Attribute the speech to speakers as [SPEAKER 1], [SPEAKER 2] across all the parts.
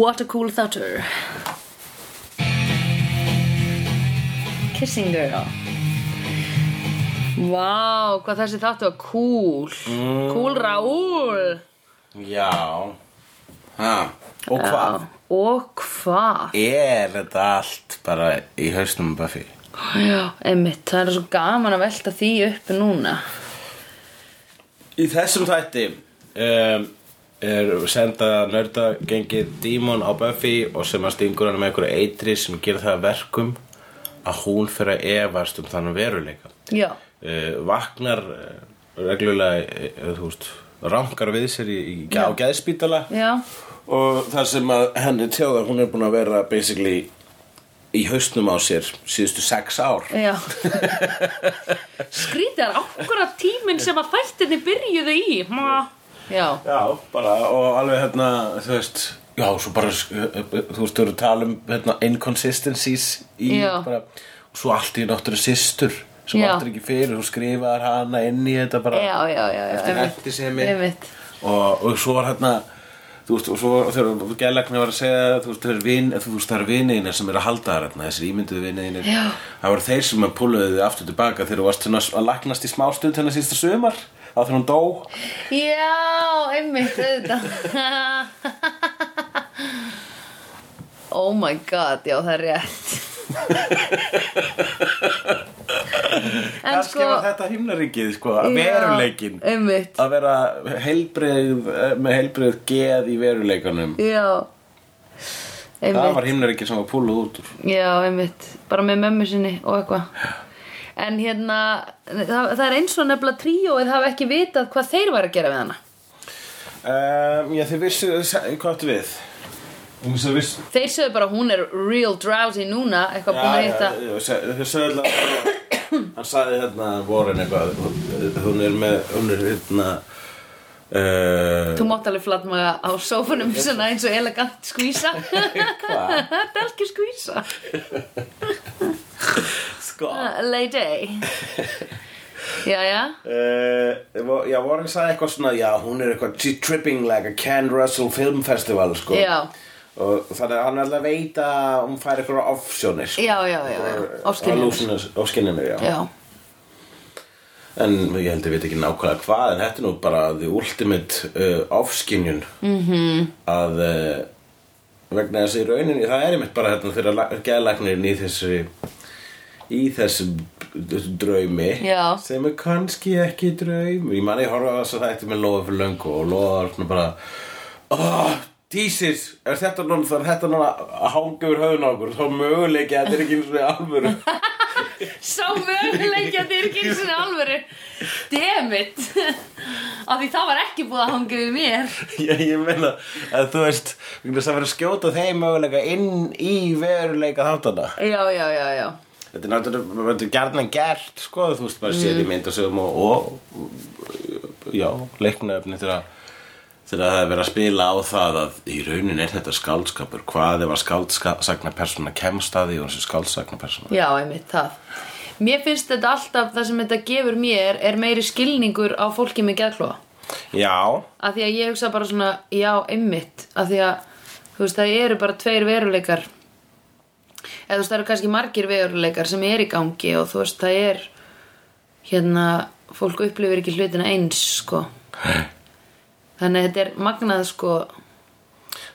[SPEAKER 1] What a cool thutter Kissing girl Vá, hvað þessi þáttu var cool
[SPEAKER 2] Mm.
[SPEAKER 1] Cool Raúl
[SPEAKER 2] Já ha. Og hvað?
[SPEAKER 1] Og hvað?
[SPEAKER 2] Er þetta allt bara í hausnum á Buffy?
[SPEAKER 1] Já, einmitt, það er svo gaman að velta því upp núna
[SPEAKER 2] Í þessum þætti um, er senda nördagengið Dímon á Buffy og sem að stingur hann með einhverju eitri sem gerir það að verkum að hún fyrir að efast um þannig veruleika
[SPEAKER 1] Já,
[SPEAKER 2] uh, vaknar uh, reglulega uh, þú veist, rankar við sér í, í, á geðspítala
[SPEAKER 1] já,
[SPEAKER 2] og þar sem að henni tjóða hún er búin að vera basically í hausnum á sér síðustu sex ár
[SPEAKER 1] já Skrítið er akkurat tíminn sem að þættinni byrjuðu í Ma. Já,
[SPEAKER 2] Já, bara og alveg hérna, þú veist Já, svo bara, eh, þú veist, þú eru að tala um hérna, inconsistencies í
[SPEAKER 1] Já.
[SPEAKER 2] bara, og svo allt í náttúru systur sem
[SPEAKER 1] Já.
[SPEAKER 2] áttur ekki fyrir, þú skrifar hana inn í þetta bara
[SPEAKER 1] já, já, já, já
[SPEAKER 2] eftir
[SPEAKER 1] einmitt.
[SPEAKER 2] eftirsemi
[SPEAKER 1] Einmitt.
[SPEAKER 2] og, og svo er hérna þú veist, og svo þegar gælækni var að segja þú veist, það er vin, þú veist, það er viniðina sem er að halda þar hérna, þessir ímynduðu viniðinir
[SPEAKER 1] Já.
[SPEAKER 2] það voru þeir sem að púluðu þið aftur tilbaka þegar þú varst svona að lagnast í smástund hérna síðasta sumar, þá þegar hún dó
[SPEAKER 1] Já, einmitt, auðvitað Oh my god, já, það er rétt En
[SPEAKER 2] kannski
[SPEAKER 1] sko-
[SPEAKER 2] var þetta himnaríkið, sko, að
[SPEAKER 1] Já,
[SPEAKER 2] veruleikin
[SPEAKER 1] Einmitt,
[SPEAKER 2] að vera heilbreið með heilbreið geð í veruleikanum
[SPEAKER 1] já
[SPEAKER 2] það
[SPEAKER 1] Einmitt,
[SPEAKER 2] var himnaríkið sem var púluð út úr
[SPEAKER 1] já, einmitt Bara með mömmu sinni og eitthvað En hérna, það, það er eins og nefnilega tríóið hafa ekki vitað hvað þeir væri að gera við hana
[SPEAKER 2] um, já, þið vissu, hvað áttu við? Þú vissu, vissu
[SPEAKER 1] Þeir sögðu bara hún er real drowsy núna eitthvað búin að hitta
[SPEAKER 2] já, já, þau sögðu alltaf hann sagði hérna Warren eitthvað hún er með, hún er hérna
[SPEAKER 1] Þú
[SPEAKER 2] uh,
[SPEAKER 1] mátt alveg flatmaga á sófunum svona eins og elegant skvísa Delki skvísa
[SPEAKER 2] sko
[SPEAKER 1] Uh, Lady Jæja
[SPEAKER 2] Uh, já, Warren sagði eitthvað svona, já, hún er eitthvað she tripping like a Ken Russell Film Festival, sko
[SPEAKER 1] Já.
[SPEAKER 2] Og þannig að hann er alltaf að veita að hún fær eitthvað offsjónir sko.
[SPEAKER 1] Já, já, já, já, ofskynjanir.
[SPEAKER 2] Ofskinnir, já.
[SPEAKER 1] Já
[SPEAKER 2] En ég held ég veit ekki nákvæmlega hvað En þetta er nú bara the ultimate uh, ofskinjun -hmm. Að uh, vegna þessi rauninni Það er einmitt bara hérna þegar geðlæknirinn í þessari Í þessum þessum draumi
[SPEAKER 1] Já.
[SPEAKER 2] Sem er kannski ekki draum Ég man ég horfa að þess að það eftir með lofa fyrir löngu Og lofa svona bara oh, Jesus, er þetta núna Það er þetta núna að hanga yfir höfun á okkur Þá möguleiki að þetta er ekki eins og alvöru
[SPEAKER 1] Sá möguleikja þér ekki eins og alvöru Dammit Af því það var ekki búið að hanga við mér
[SPEAKER 2] Já, ég meina að þú veist það verður að skjóta þeim möguleika inn í veruleika þáttana
[SPEAKER 1] Já, já, já, já
[SPEAKER 2] Þetta er náttúrulega þetta er gjarnan gert sko, þú veist, maður sér í myndasögum og, og já, leiknaöfni þegar þegar það er verið að spila á það að í raunin er þetta skáldskapur hvað ef að skáldsakna persóna kemst að því og þessi skáldsakna persóna
[SPEAKER 1] Já, einmitt, það Mér finnst þetta alltaf, það sem þetta gefur mér er meiri skilningur á fólki með geðklóa
[SPEAKER 2] Já,
[SPEAKER 1] Af því að ég hugsa bara svona, já, einmitt Af því að, þú veist, það eru bara tveir veruleikar Eða þú veist, það eru kannski margir veruleikar sem er í gangi og þú veist, það er hérna, fólk upplifir ekki hlutina eins, sko Þannig að þetta er magnað, sko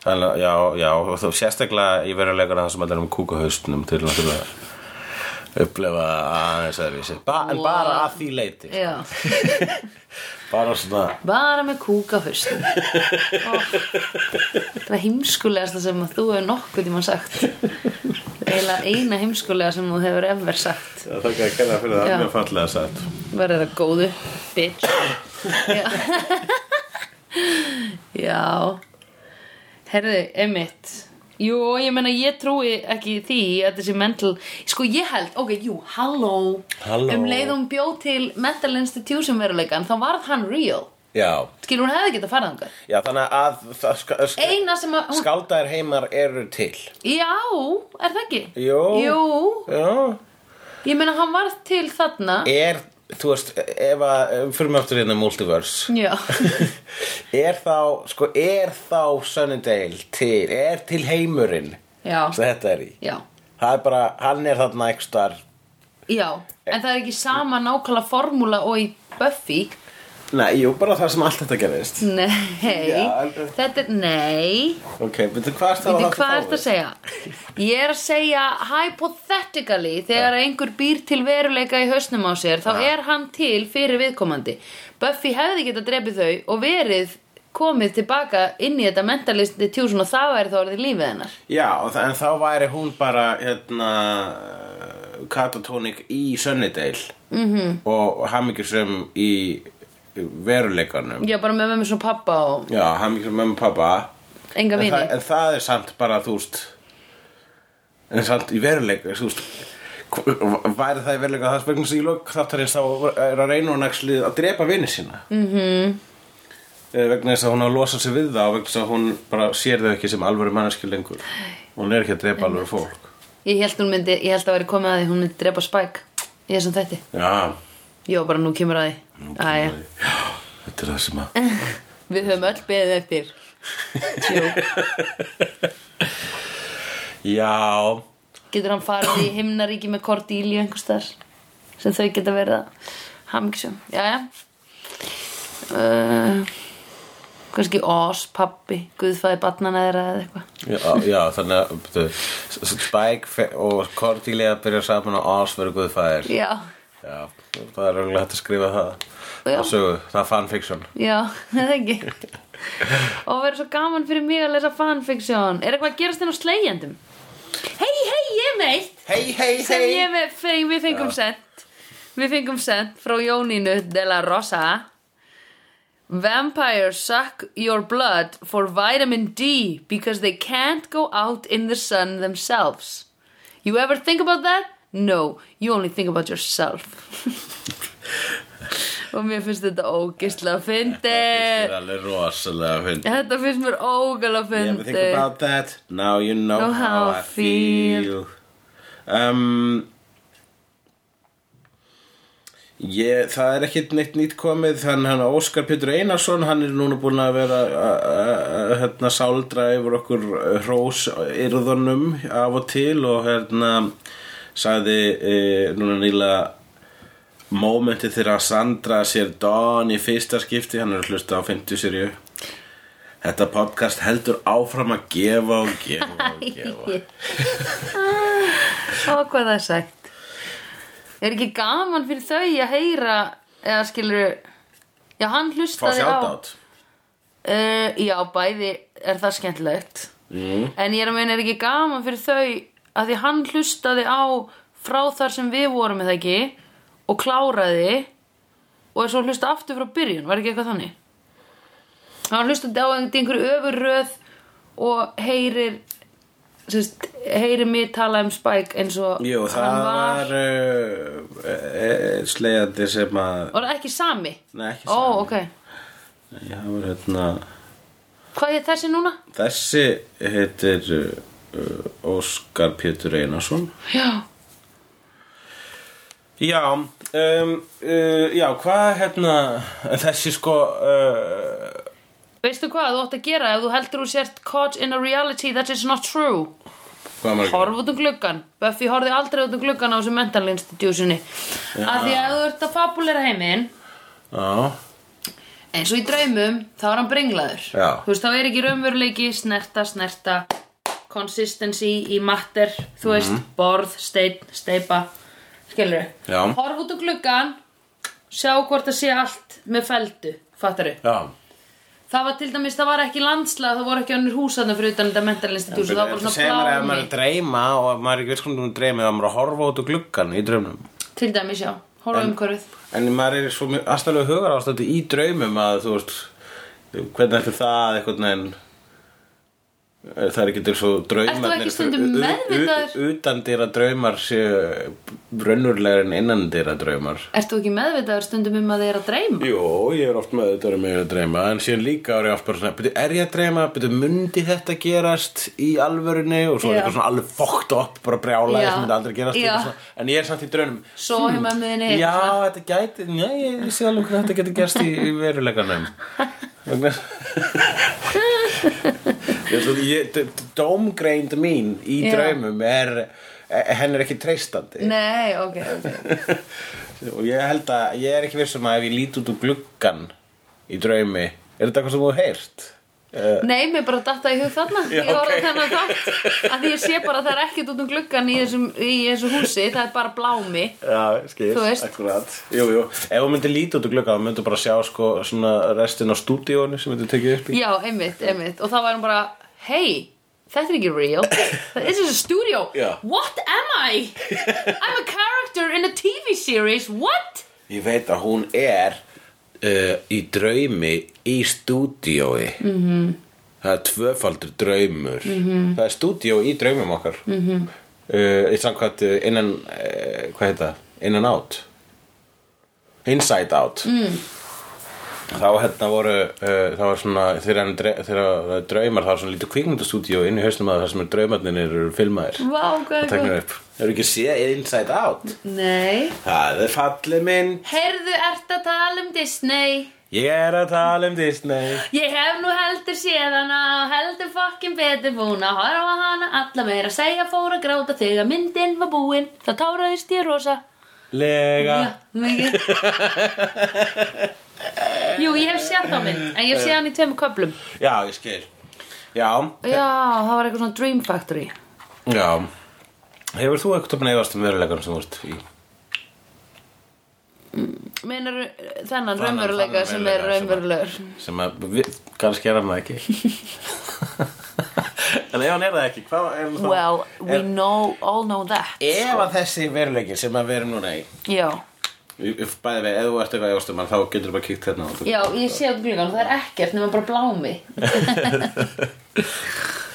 [SPEAKER 2] þannig að, já, já og þú sérstaklega í veruleikana það sem allir um kúkahaustnum til náttúrulega upplefa aðeins aðeins ba en bara að því leiti
[SPEAKER 1] Já,
[SPEAKER 2] bara svona
[SPEAKER 1] bara með kúka fyrst Það var heimskulegasta sem að þú hefur nokkuð tíma sagt Eila eina heimskulega sem þú hefur ever sagt
[SPEAKER 2] það er ekki að fyrir
[SPEAKER 1] það Já. mjög
[SPEAKER 2] fallega sagt
[SPEAKER 1] verður það góðu bitch já já herðu, emitt jú, ég meina ég trúi ekki því að þessi mental, sko ég held ok, jú, halló
[SPEAKER 2] Halló.
[SPEAKER 1] um leið hún bjó til mental institution veruleikan, þá varð hann real
[SPEAKER 2] já,
[SPEAKER 1] skilur hún hefði geta farað þangað
[SPEAKER 2] já þannig að það ska, ska,
[SPEAKER 1] eina sem að, hún,
[SPEAKER 2] skáldaðir heimar eru til
[SPEAKER 1] já, er það ekki
[SPEAKER 2] Jú.
[SPEAKER 1] jú
[SPEAKER 2] já,
[SPEAKER 1] ég meina hann varð til þarna
[SPEAKER 2] er þú veist, ef að ef við fyrir mig aftur hérna í multiverse
[SPEAKER 1] Já,
[SPEAKER 2] er þá, sko, er þá Sunnydale til, er til heimurinn
[SPEAKER 1] Já.
[SPEAKER 2] sem þetta er í
[SPEAKER 1] já,
[SPEAKER 2] það er bara, hann er þarna ekki star
[SPEAKER 1] já En það er ekki sama nákvæmlega formúla og í Buffy
[SPEAKER 2] nei, jú, bara það sem allt þetta gerðist
[SPEAKER 1] Nei,
[SPEAKER 2] Já, en-
[SPEAKER 1] þetta er, nei
[SPEAKER 2] ok, betur hvað er það
[SPEAKER 1] Veitir, hvað ertu að segja? Ég er að segja hypothetically þegar einhver býr til veruleika í hausnum á sér þá er hann til fyrir viðkomandi Buffy hefði getað drepið þau og verið komið tilbaka inn í þetta mentalisti tjúsun og það væri þá orðið lífið hennar
[SPEAKER 2] já, og það- en þá væri hún bara hérna eh, katatónik í Sunnydale
[SPEAKER 1] Mhm.
[SPEAKER 2] -hmm. og hamingjusum í veruleikanum
[SPEAKER 1] Já, bara með með svona pappa og
[SPEAKER 2] já, hamingjusum mömmu og pappa
[SPEAKER 1] enga
[SPEAKER 2] en,
[SPEAKER 1] vini
[SPEAKER 2] það, en það er samt bara þú veist en samt í veruleika þú veist hv- væri það í veruleika það spegna sig í lok þáttarins þá er að reyna hún actually að drepa vini sína mm -hmm. vegna þess að hún á að losa sig við það og vegna þess að hún bara sér þau ekki sem alvöru manneskjur lengur hún er ekki að drepa alvöru fólk
[SPEAKER 1] Ég held hún myndi, ég held að væri komið að því hún myndi drepa Spike í þessum þætti
[SPEAKER 2] já,
[SPEAKER 1] Jó, bara nú kemur að því Æja,
[SPEAKER 2] já þetta er það sem að
[SPEAKER 1] við höfum öll beðið eftir Jó
[SPEAKER 2] já,
[SPEAKER 1] Getur hann farið í himnaríki með Cordelia einhvers þar sem þau geta verið að hamngisum. Jæja. Uh, kannski Oz, pappi, guðfæði barnana þeirra eða eitthvað.
[SPEAKER 2] já, já þannig að byrju, S- S- Spike fe- og Cordelia byrja saman og Oz verður guðfæðir
[SPEAKER 1] Já,
[SPEAKER 2] Já, það er auðvitað hægt að skrifa það
[SPEAKER 1] Já.
[SPEAKER 2] á sögu, það er fanfiction
[SPEAKER 1] já, það ekki. Og verður svo gaman fyrir mig að lesa fanfiction. Er eitthvað að gerast þennan á slegjendum? Hei, hei, ég er með eitt
[SPEAKER 2] Hei, hei,
[SPEAKER 1] sem ég með, feng, við fengum sent. Við fengum sent frá Jónínu de la Rosa. Vampires suck your blood for vitamin D because they can't go out in the sun themselves. You ever think about that? No, you only think about yourself. Og mér finnst þetta ógisla
[SPEAKER 2] Það
[SPEAKER 1] fyndið.
[SPEAKER 2] er alveg rosalega fyndið
[SPEAKER 1] Þetta finnst mér ógala
[SPEAKER 2] You ever think
[SPEAKER 1] fyndið.
[SPEAKER 2] about that? Now you know,
[SPEAKER 1] Know
[SPEAKER 2] how, I feel, um, ég, Það er ekkit neitt nýtt komið Þannig hann Óskar Pétur Einarsson Hann er núna búinn að vera að- að- að- hérna, Sáldra yfir okkur Hrós yrðunum Af og til Og hérna Sagði e, núna nýlega Mómentið þegar Sandra sér Don í fyrsta skipti Hann er að hlusta á 50 serju Þetta podcast heldur áfram að gefa og gefa og gefa.
[SPEAKER 1] Svo hvað Ah, það er sagt Er ekki gaman fyrir þau að heyra eða skilur Já, hann
[SPEAKER 2] Fá
[SPEAKER 1] hlustaði á
[SPEAKER 2] sjátt
[SPEAKER 1] uh, Já, bæði er það skemmtilegt
[SPEAKER 2] Mhm.
[SPEAKER 1] mm. En ég er að meina er ekki gaman fyrir þau að því hann hlustaði á frá þar sem við vorum eða ekki og kláraði og er svo að hlusta aftur frá byrjun var ekki eitthvað þannig hann hlustaði á einhverju öfurröð og heyrir sérst, heyrir mig tala um Spike eins og
[SPEAKER 2] Jú, það
[SPEAKER 1] hann
[SPEAKER 2] var, var uh, slegjandi sem að,
[SPEAKER 1] var það ekki sami?
[SPEAKER 2] nei ekki
[SPEAKER 1] Ó,
[SPEAKER 2] sami.
[SPEAKER 1] ok
[SPEAKER 2] það var hérna,
[SPEAKER 1] Hvað er þessi núna?
[SPEAKER 2] þessi heitir uh, Óskar Pétur Einarsson.
[SPEAKER 1] Já,
[SPEAKER 2] Já, um, uh, já, hvað hérna, þessi sko, uh,
[SPEAKER 1] veistu hvað þú átt að gera ef þú heldur þú sért caught in a reality that is not true
[SPEAKER 2] hvað maður
[SPEAKER 1] horf út um gluggan Buffy horfði aldrei út um gluggan á þessu mental institutioni af því að ef þú ert að fabulera heiminn
[SPEAKER 2] Já,
[SPEAKER 1] eins og í draumum þá er hann brenglaður
[SPEAKER 2] Já.
[SPEAKER 1] þú veist þá er ekki raunveruleiki snerta snerta consistency í matter þú veist
[SPEAKER 2] Mhm.
[SPEAKER 1] borð, stein, steipa skilur
[SPEAKER 2] Já.
[SPEAKER 1] horf út um gluggan sjá hvort það sé allt með feldu fattaru
[SPEAKER 2] já.
[SPEAKER 1] Það var til dæmis, það var ekki landslag, það voru ekki önnur húsarna fyrir utan þetta mental institute, það var bara
[SPEAKER 2] segir maður
[SPEAKER 1] svona
[SPEAKER 2] ef maður er að
[SPEAKER 1] plámi.
[SPEAKER 2] dreyma og ef maður er ekki veist hvernig maður dreyma þá er maður að horfa út úr gluggan í draumnum
[SPEAKER 1] Til dæmis, já, horfa umhverfið.
[SPEAKER 2] en maður er svo mjög aðstæðlega hugar ástætti í draumum að þú veist hvernig ætti það eitthvað neginn eh, Það er ekki til svo draumarnir
[SPEAKER 1] Ert þú ekki stundum
[SPEAKER 2] u- u-
[SPEAKER 1] meðvitaður?
[SPEAKER 2] u- Utandýra draumar séu raunurlegar en innandýra draumar
[SPEAKER 1] Ert þú ekki meðvitaður stundum um að þið er að dreyma?
[SPEAKER 2] Jó, ég er oft með þetta um ég er að dreyma en síðan líka er ég oft bara svona byrju, er ég að dreyma, byrju, mundi þetta gerast í alvörunni og svo er
[SPEAKER 1] Já.
[SPEAKER 2] eitthvað svona alveg fokkt upp, bara brjála
[SPEAKER 1] Já.
[SPEAKER 2] sem myndi aldrei gerast
[SPEAKER 1] Já.
[SPEAKER 2] eitthvað svona. en ég er samt í draunum
[SPEAKER 1] Svo hjá mömmuðinni,
[SPEAKER 2] Hmm. Já, þetta gæti, njá, ég sé alveg hvernig þetta getur gerst í, í veruleikanum Vegna Ég ætla- ég- d- d- Dómgreind mín í
[SPEAKER 1] Já.
[SPEAKER 2] draumum er henn er ekki treystandi
[SPEAKER 1] Nei, ok, ok
[SPEAKER 2] og ég held að ég er ekki vissum að ef ég lít út úr gluggan í draumi er þetta eitthvað sem þú hefur heyrt? Uh,
[SPEAKER 1] Nei, mér bara datta í hug þarna
[SPEAKER 2] Já,
[SPEAKER 1] Ég horfði
[SPEAKER 2] ok.
[SPEAKER 1] okay. þennan þátt að því ég sé bara að það er ekkert út um gluggan í þessum, í þessu húsi, það er bara blámi
[SPEAKER 2] já, skil,
[SPEAKER 1] Þú veist.
[SPEAKER 2] akkurat Jú, jú, ef þú myndir lít út úr gluggan þá myndir bara sjá sko svona restin á stúdíónu sem myndir tekið upp í
[SPEAKER 1] Já, einmitt, einmitt og þá var hún bara, hey Þetta er ekki real. This is a studio.
[SPEAKER 2] Já.
[SPEAKER 1] What am I? I'm a character in a TV series. What?
[SPEAKER 2] Ég veit að hún er uh, í draumi í stúdíói -hmm. Það er tvöfaldur draumur -hmm. Það er stúdíó í draumum okkar mm -hmm. uh, Í samkvæmt uh, innan, uh, hvað heita, in and out Inside out mm. Þá hérna voru, uh, það var svona, þegar, hann dre- þegar draumar, það var svona lítið kvikmyndastúdíó inn í haustum að það sem er draumarnir eru filmaðir
[SPEAKER 1] Vá, hvað
[SPEAKER 2] og
[SPEAKER 1] er
[SPEAKER 2] teknir upp Eru ekki séð Inside Out?
[SPEAKER 1] Nei.
[SPEAKER 2] Það er fallið mynd
[SPEAKER 1] Heyrðu, ert að tala um Disney?
[SPEAKER 2] Ég er að tala um Disney
[SPEAKER 1] Ég hef nú heldur séð hana og heldur fokkin betur búin að horfa á hana alla meira segja fór að gráta þegar myndin var búin þá táraðist ég rosa
[SPEAKER 2] Lega
[SPEAKER 1] Já, mikið Jú, ég hef séð þá mynd en ég hef séð hann í tveimur köflum
[SPEAKER 2] Já, ég skil Já,
[SPEAKER 1] Já, það var eitthvað svona Dream Factory
[SPEAKER 2] já Hefur þú eitthvað topn efast um veruleikann sem þú ert í?
[SPEAKER 1] Meinar þennan
[SPEAKER 2] Þennan-
[SPEAKER 1] raunveruleika
[SPEAKER 2] þennan
[SPEAKER 1] sem er
[SPEAKER 2] raunveruleika
[SPEAKER 1] raunverulegur
[SPEAKER 2] Sem að, við, kannski er hann það ekki En ef hann er það ekki, hvað er það?
[SPEAKER 1] Well, we
[SPEAKER 2] er,
[SPEAKER 1] know, all know that
[SPEAKER 2] Ef að þessi veruleiki sem að við erum núna í
[SPEAKER 1] Já,
[SPEAKER 2] Ég- ég- Bæði við, ef þú ert eitthvað efast um hann þá getur þú bara kíkt hérna á þetta.
[SPEAKER 1] já ég sé út gluggan það er ekkert nema bara blámi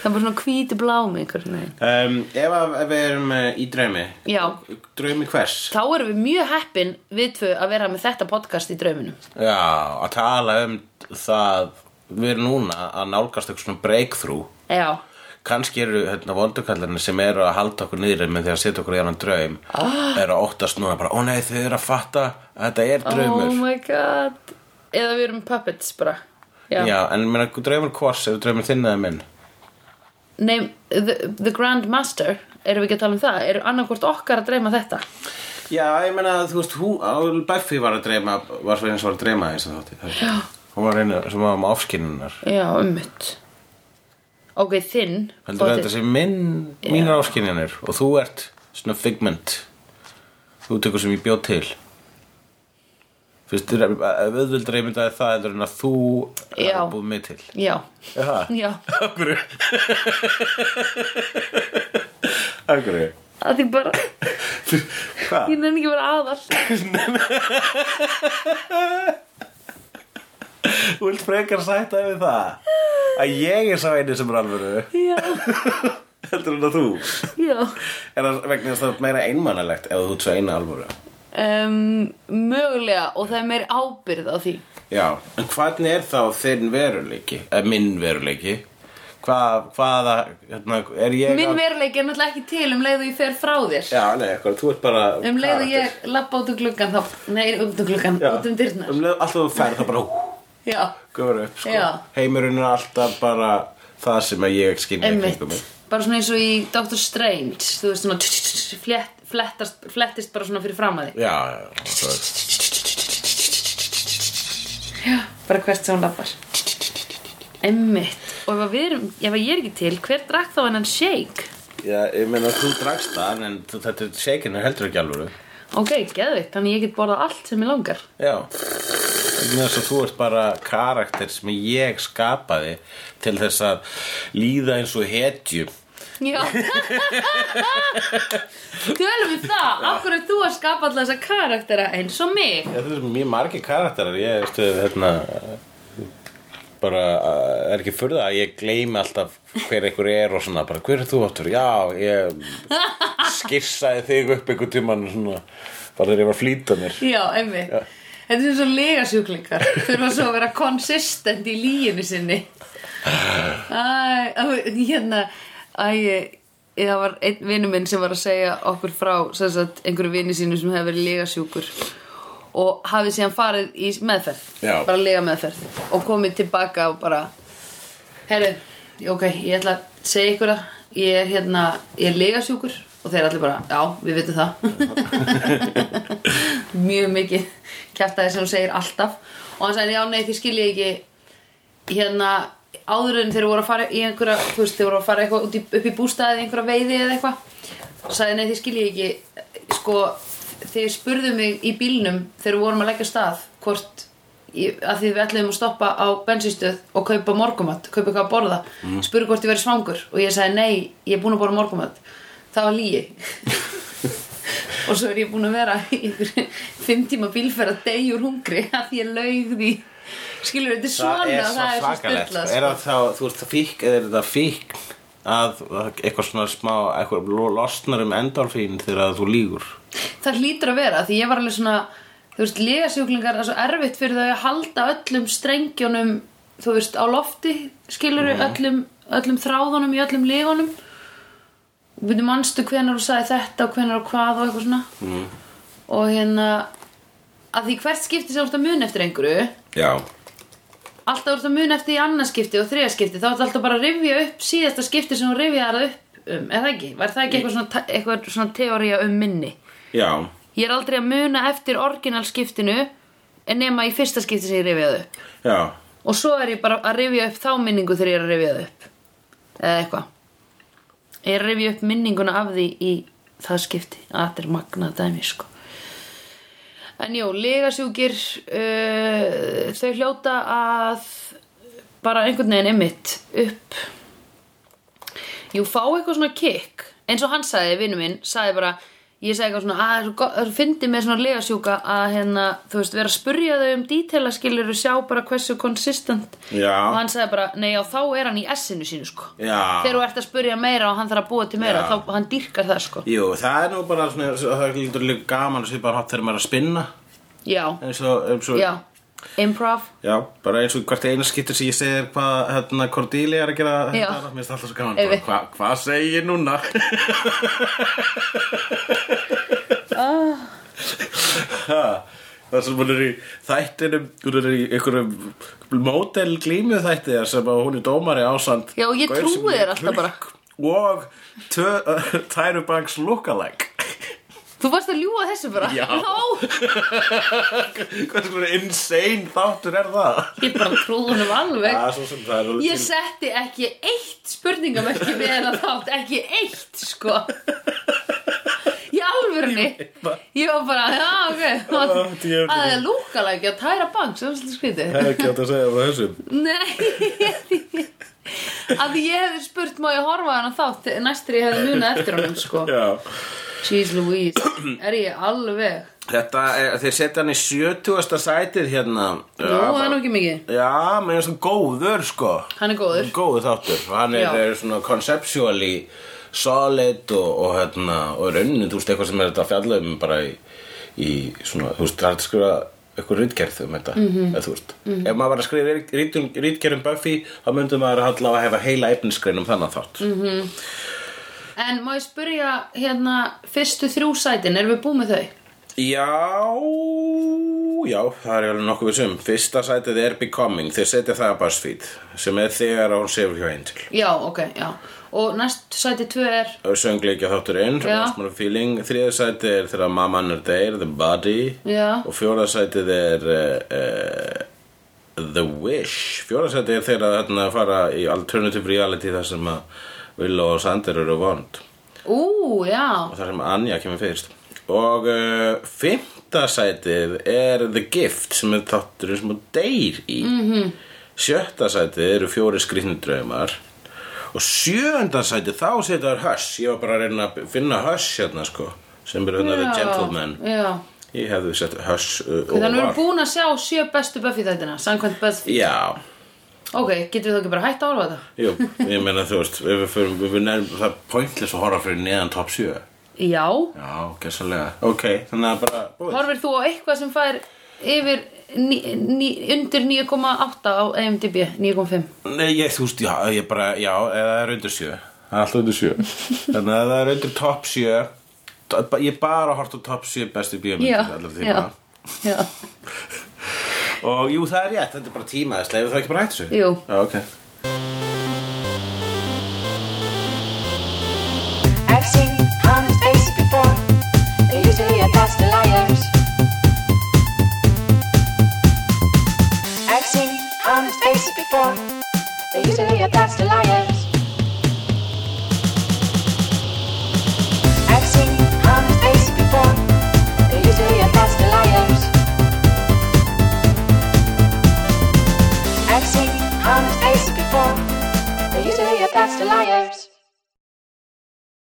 [SPEAKER 1] Það er bara svona hvíti blámi einhvern veginn
[SPEAKER 2] um, Ef að ef við erum eh, í draumi
[SPEAKER 1] Já.
[SPEAKER 2] Draumi hvers?
[SPEAKER 1] Þá erum við mjög heppin við tvö að vera með þetta podcast í drauminum.
[SPEAKER 2] Já, að tala um það við erum núna að nálgast eitthvað svona breakthrough
[SPEAKER 1] Já.
[SPEAKER 2] kannski eru hérna, vondukallarnir sem eru að halda okkur niður með því að setja okkur í annan draum ah. eru að óttast núna bara, ó nei þau eru að fatta að þetta er
[SPEAKER 1] Oh
[SPEAKER 2] draumur
[SPEAKER 1] my god. Eða við erum puppets bara. Já.
[SPEAKER 2] Já, en ég meina, draumur hvors eru draumur þinn eða minn
[SPEAKER 1] Nei, the, the Grand Master, erum við ekki að tala um það? Er annarkvort okkar að dreyma þetta?
[SPEAKER 2] Já, ég meina, þú veist, hún, á, Buffy var að dreyma var svo eins og var að dreyma eins og þátti Já Hún var einu sem var með áskinnunnar
[SPEAKER 1] Já, ummitt. Ok, þinn.
[SPEAKER 2] Heldur
[SPEAKER 1] Þótti-
[SPEAKER 2] þetta sé minn, mínar áskinnunir og þú ert svona figment þú tekur sem ég bjóð til Fyrst, auðvöldra ég myndaði það heldur en að þú
[SPEAKER 1] Já.
[SPEAKER 2] er búið mig til
[SPEAKER 1] Já.
[SPEAKER 2] Er það?
[SPEAKER 1] Já.
[SPEAKER 2] Af hverju? Af hverju?
[SPEAKER 1] Að því bara,
[SPEAKER 2] Hvað?
[SPEAKER 1] ég nefn ekki að vera aðall.
[SPEAKER 2] Þú vilt frekar sætta yfir það? Að ég er sá eini sem er alvöru
[SPEAKER 1] Já,
[SPEAKER 2] Heldur en að þú
[SPEAKER 1] já.
[SPEAKER 2] Er það vegna þess að það er meira einmannalegt ef þú ert svo eina alvöru?
[SPEAKER 1] Um, mögulega, og það er meir ábyrð á því.
[SPEAKER 2] Já, en hvernig er þá þinn veruleiki? Eh, minn veruleiki? Hvað, hvaða, hérna, er ég
[SPEAKER 1] Minn
[SPEAKER 2] að...
[SPEAKER 1] veruleiki er náttúrulega ekki til um leið og ég fer frá þér.
[SPEAKER 2] Já, nei, hvað, þú ert bara...
[SPEAKER 1] Um leið og
[SPEAKER 2] karakter.
[SPEAKER 1] ég lappa út um gluggan þá, nei, út um gluggan,
[SPEAKER 2] Já.
[SPEAKER 1] út um dyrnar.
[SPEAKER 2] Um leið og alltaf þú ferð þá bara... hú,
[SPEAKER 1] Já,
[SPEAKER 2] Gufur upp, sko.
[SPEAKER 1] Já.
[SPEAKER 2] Heimurinn er alltaf bara það sem að ég skynja í
[SPEAKER 1] einmitt.
[SPEAKER 2] kringum mig.
[SPEAKER 1] Bara svona eins og í Doctor Strange, þú veist svona, tss, tss, tss, flett, flettast, flettist bara svona fyrir fram að því.
[SPEAKER 2] Já, já, já, svo er-
[SPEAKER 1] Já, bara hvert sem hún lappar. Einmitt. Og ef að við erum, ef að ég er ekki til, hver drakk þá hennan shake?
[SPEAKER 2] já, ég meina þú dragst það, en þú- þetta shaken er heldur ekki alvöru.
[SPEAKER 1] Ok, geðvikt, þannig ég get borðað allt sem ég langar.
[SPEAKER 2] Já. Vegna þess að þú ert bara karakter sem ég skapaði til þess að líða eins og hetjum.
[SPEAKER 1] Já. Tölum við það, okkur er þú að skapa alltaf þessa karaktera eins og mig.
[SPEAKER 2] Já, það er mjög margir karakterar Ég veist, hérna bara uh, er ekki furða að ég gleymi alltaf hver einhver er og svona bara hver er þú áttur? Já, ég skissaði þig upp einhver tíman svona bara þegar ég var að flýta mér
[SPEAKER 1] Já, einmitt Þetta er svo legasjúklingar Þurfa svo að vera konsistent í líinu sinni Æ, á- hérna Æ, ég- það var einn vinnu minn sem var að segja okkur frá sem sagt, einhverju vinnu sínu sem hefur verið legasjúkur og hafið síðan farið í meðferð
[SPEAKER 2] Já.
[SPEAKER 1] bara lega meðferð og komið tilbaka og bara herru, ok, ég ætla að segja ykkur að ég er hérna ég er legasjúkur og þeir allir bara, já, við vitum það mjög mikið kjartaði sem hún segir alltaf og hann sagði, já, nei, því skil ég ekki hérna, áður en þeir voru að fara í einhverja, þú veist, þeir voru að fara eitthvað út í, upp í bústaðið, einhverja veiði eða eitthvað sagði, nei, því skil ég ekki sko, þeir spurðu mig í bílnum þegar við vorum að leggja af stað hvort í- að því við ætluðum að stoppa á bensinstöð og kaupa morgumat, kaupa eitthvað að borða mm. spurði hvort ég verið svangur og ég sagði nei, ég er búin að borða morgumat það var lígi og svo er ég búin að vera í einhverju fimm tíma bílferð að deyja úr hungri að því ég laug því skilur þetta er svona, það er svo,
[SPEAKER 2] svakalegt
[SPEAKER 1] sturlað,
[SPEAKER 2] sko. er það þá, þú veist það fík eða er það fík að eitthvað svona smá eitthvað losnar um endorfín þegar þú lígur
[SPEAKER 1] það hlýtur að vera því ég var alveg svona þú veist, legasjúklingar það er svo erfitt fyrir þau að halda öllum strengjónum þú veist, á lofti skilur öllum, öllum þráðunum í öllum legunum og byrju manstu hvenar þú sagði þetta og hvenar og hvað og eitthvað svona mm. og hérna að því hvert skipti sem þú ert að mun eftir einhverju
[SPEAKER 2] já,
[SPEAKER 1] alltaf voru það mun eftir í annað skipti og þriða skipti þá er alltaf bara að rifja upp síðasta skipti sem hún rifjaði það upp um, er það ekki? Var það ekki eitthvað svona, eitthvað svona teória um minni?
[SPEAKER 2] já
[SPEAKER 1] Ég er aldrei að muna eftir orginalskiptinu en nema í fyrsta skipti sem ég rifjaði upp
[SPEAKER 2] já,
[SPEAKER 1] og svo er ég bara að rifja upp þá minningu þegar ég er að rifja það upp eða eitthvað ég er að rifja upp minninguna af því í það skipti að þetta er magnað dæmi sko en jú, legasjúkir uh, þau hljóta að bara einhvern veginn emitt upp jú, fá eitthvað svona kick eins og hann sagði, vinnu minn, sagði bara ég sagði eitthvað svona, að það er svo gott- það fyndi með svona legasjúka að hérna, þú veist, vera að spurja þau um dítela skilur og sjá bara hversu konsistent
[SPEAKER 2] Já.
[SPEAKER 1] og hann sagði bara, nei já, þá er hann í S-inu sínu sko
[SPEAKER 2] Já.
[SPEAKER 1] þegar þú ert að spurja meira og hann þarf að búa til meira
[SPEAKER 2] Ah. Já.
[SPEAKER 1] þá hann dýrkar það sko
[SPEAKER 2] jú, það er nú bara svona, það er líka líka gaman að sé bara hátt þegar maður er að spinna
[SPEAKER 1] já,
[SPEAKER 2] eins og, eins og
[SPEAKER 1] já, improv
[SPEAKER 2] já, bara eins og hvert eina skiptir sem ég segir hvað hérna Cordelia er að gera
[SPEAKER 1] Já.
[SPEAKER 2] hérna, mér finnst alltaf svo gaman
[SPEAKER 1] Ef
[SPEAKER 2] bara,
[SPEAKER 1] við-
[SPEAKER 2] hva, hvað segi ég núna Ah. Ha, það sem hún er í þættinum hún er í einhverjum mótel glímu þætti þar sem að hún er dómari ásand
[SPEAKER 1] Já, ég
[SPEAKER 2] gaur sem
[SPEAKER 1] trúi
[SPEAKER 2] er
[SPEAKER 1] þér alltaf bara.
[SPEAKER 2] klukk og tvö- Tyra Banks lookalike
[SPEAKER 1] þú varst að ljúga þessu bara
[SPEAKER 2] Já.
[SPEAKER 1] Nó!
[SPEAKER 2] hvað sem er insane þáttur er það
[SPEAKER 1] ég bara trúði honum alveg
[SPEAKER 2] Já, svo sem það er alveg
[SPEAKER 1] Ég
[SPEAKER 2] Ah, til-
[SPEAKER 1] setti ekki eitt spurningamörki við hennar þátt, ekki eitt sko Í alvörunni Ég var bara, já ok
[SPEAKER 2] Ó, djöfull.
[SPEAKER 1] Það er lúkalækja, tæra bank, sem þetta skrítið
[SPEAKER 2] Það er ekki átt að segja frá þessum
[SPEAKER 1] Nei Að því ég hefði spurt má ég horfa á hennar þátt Næstir ég hefði muna eftir honum sko
[SPEAKER 2] Já.
[SPEAKER 1] Jeez Louise, er ég alveg
[SPEAKER 2] Þetta, er, þeir setja hann í 70. sætið hérna
[SPEAKER 1] Nú, það er nú
[SPEAKER 2] bara-
[SPEAKER 1] ekki mikið
[SPEAKER 2] Já, menn er svona góður sko
[SPEAKER 1] Hann er góður
[SPEAKER 2] Góður þáttur Hann er,
[SPEAKER 1] Já.
[SPEAKER 2] er svona conceptually solid og, og hérna og raunin, þú veist, eitthvað sem er þetta að fjalla um bara í, í svona, þú veist, það er hægt að skrifa eitthvað rítgerð um þetta mm
[SPEAKER 1] Mhm.
[SPEAKER 2] -hmm. eða, þú veist, ef maður var að skrifa rit- rit- ritgerð um Buffy, þá myndum maður allavega að hefa heila efnisgrein um þannig þátt mm -hmm.
[SPEAKER 1] En má ég spurja hérna Fyrstu þrjú sætin, erum við búið með þau?
[SPEAKER 2] Já, já, það er alveg nokkuð við sum. Fyrsta sætið er Becoming, þeir setja það að BuzzFeed, sem er þegar hún sefur hjá Angel.
[SPEAKER 1] Já, ok, já Og næst sæti 2 er
[SPEAKER 2] Söngleikja þátturinn,
[SPEAKER 1] Já.
[SPEAKER 2] Rasmus Feeling, þriða sætið er þegar Mamman er Deir, The Body
[SPEAKER 1] Já.
[SPEAKER 2] og fjóra sætið er uh, The Wish. Fjóra sætið er þegar þarna fara í Alternative Reality þar sem að Willow og Sander eru vond.
[SPEAKER 1] Ú, já
[SPEAKER 2] og þar sem Anja kemur fyrst og uh, fymta sætið er The Gift sem er þátturinn sem hún deyr í mm -hmm. sjötta sætið eru fjóri skrýtnudraumar og sjöunda sætið þá setur Hush ég var bara að reyna að finna Hush hérna sko sem eru hérna The
[SPEAKER 1] Já,
[SPEAKER 2] Gentleman
[SPEAKER 1] Já
[SPEAKER 2] ég hefði sett Hush uh,
[SPEAKER 1] Þannig við erum
[SPEAKER 2] ofar.
[SPEAKER 1] búin að sjá sjö bestu Buffy þættina Samkvæmt Buffy
[SPEAKER 2] já
[SPEAKER 1] Ok, getur við þá ekki bara hætt að horfa á þetta?
[SPEAKER 2] Jú, ég meina þú veist, ef við förum, ef við nefnum það er pointless að horfa fyrir neðan top 7
[SPEAKER 1] Já
[SPEAKER 2] Já, gessalega Ok, þannig að bara búið
[SPEAKER 1] Horfir þú á eitthvað sem fær yfir ní, ní, undir 9,8 á IMDb 9,5
[SPEAKER 2] Nei, ég, þú veist, já, ég bara, já, eða það er undir 7 Það er alltaf undir 7 Þannig að ef það er undir top 7 to- ba- Ég bara horft á top 7 bestu
[SPEAKER 1] Já,
[SPEAKER 2] bíómyndir
[SPEAKER 1] já, já
[SPEAKER 2] Og jú, það er rétt, þetta er bara tímaðislega Ef það ekki bara hættu þessu
[SPEAKER 1] Jú.
[SPEAKER 2] Já, ok
[SPEAKER 3] I've seen honest faces before. They're usually a past liars. I've seen honest faces before. They're usually a past liars.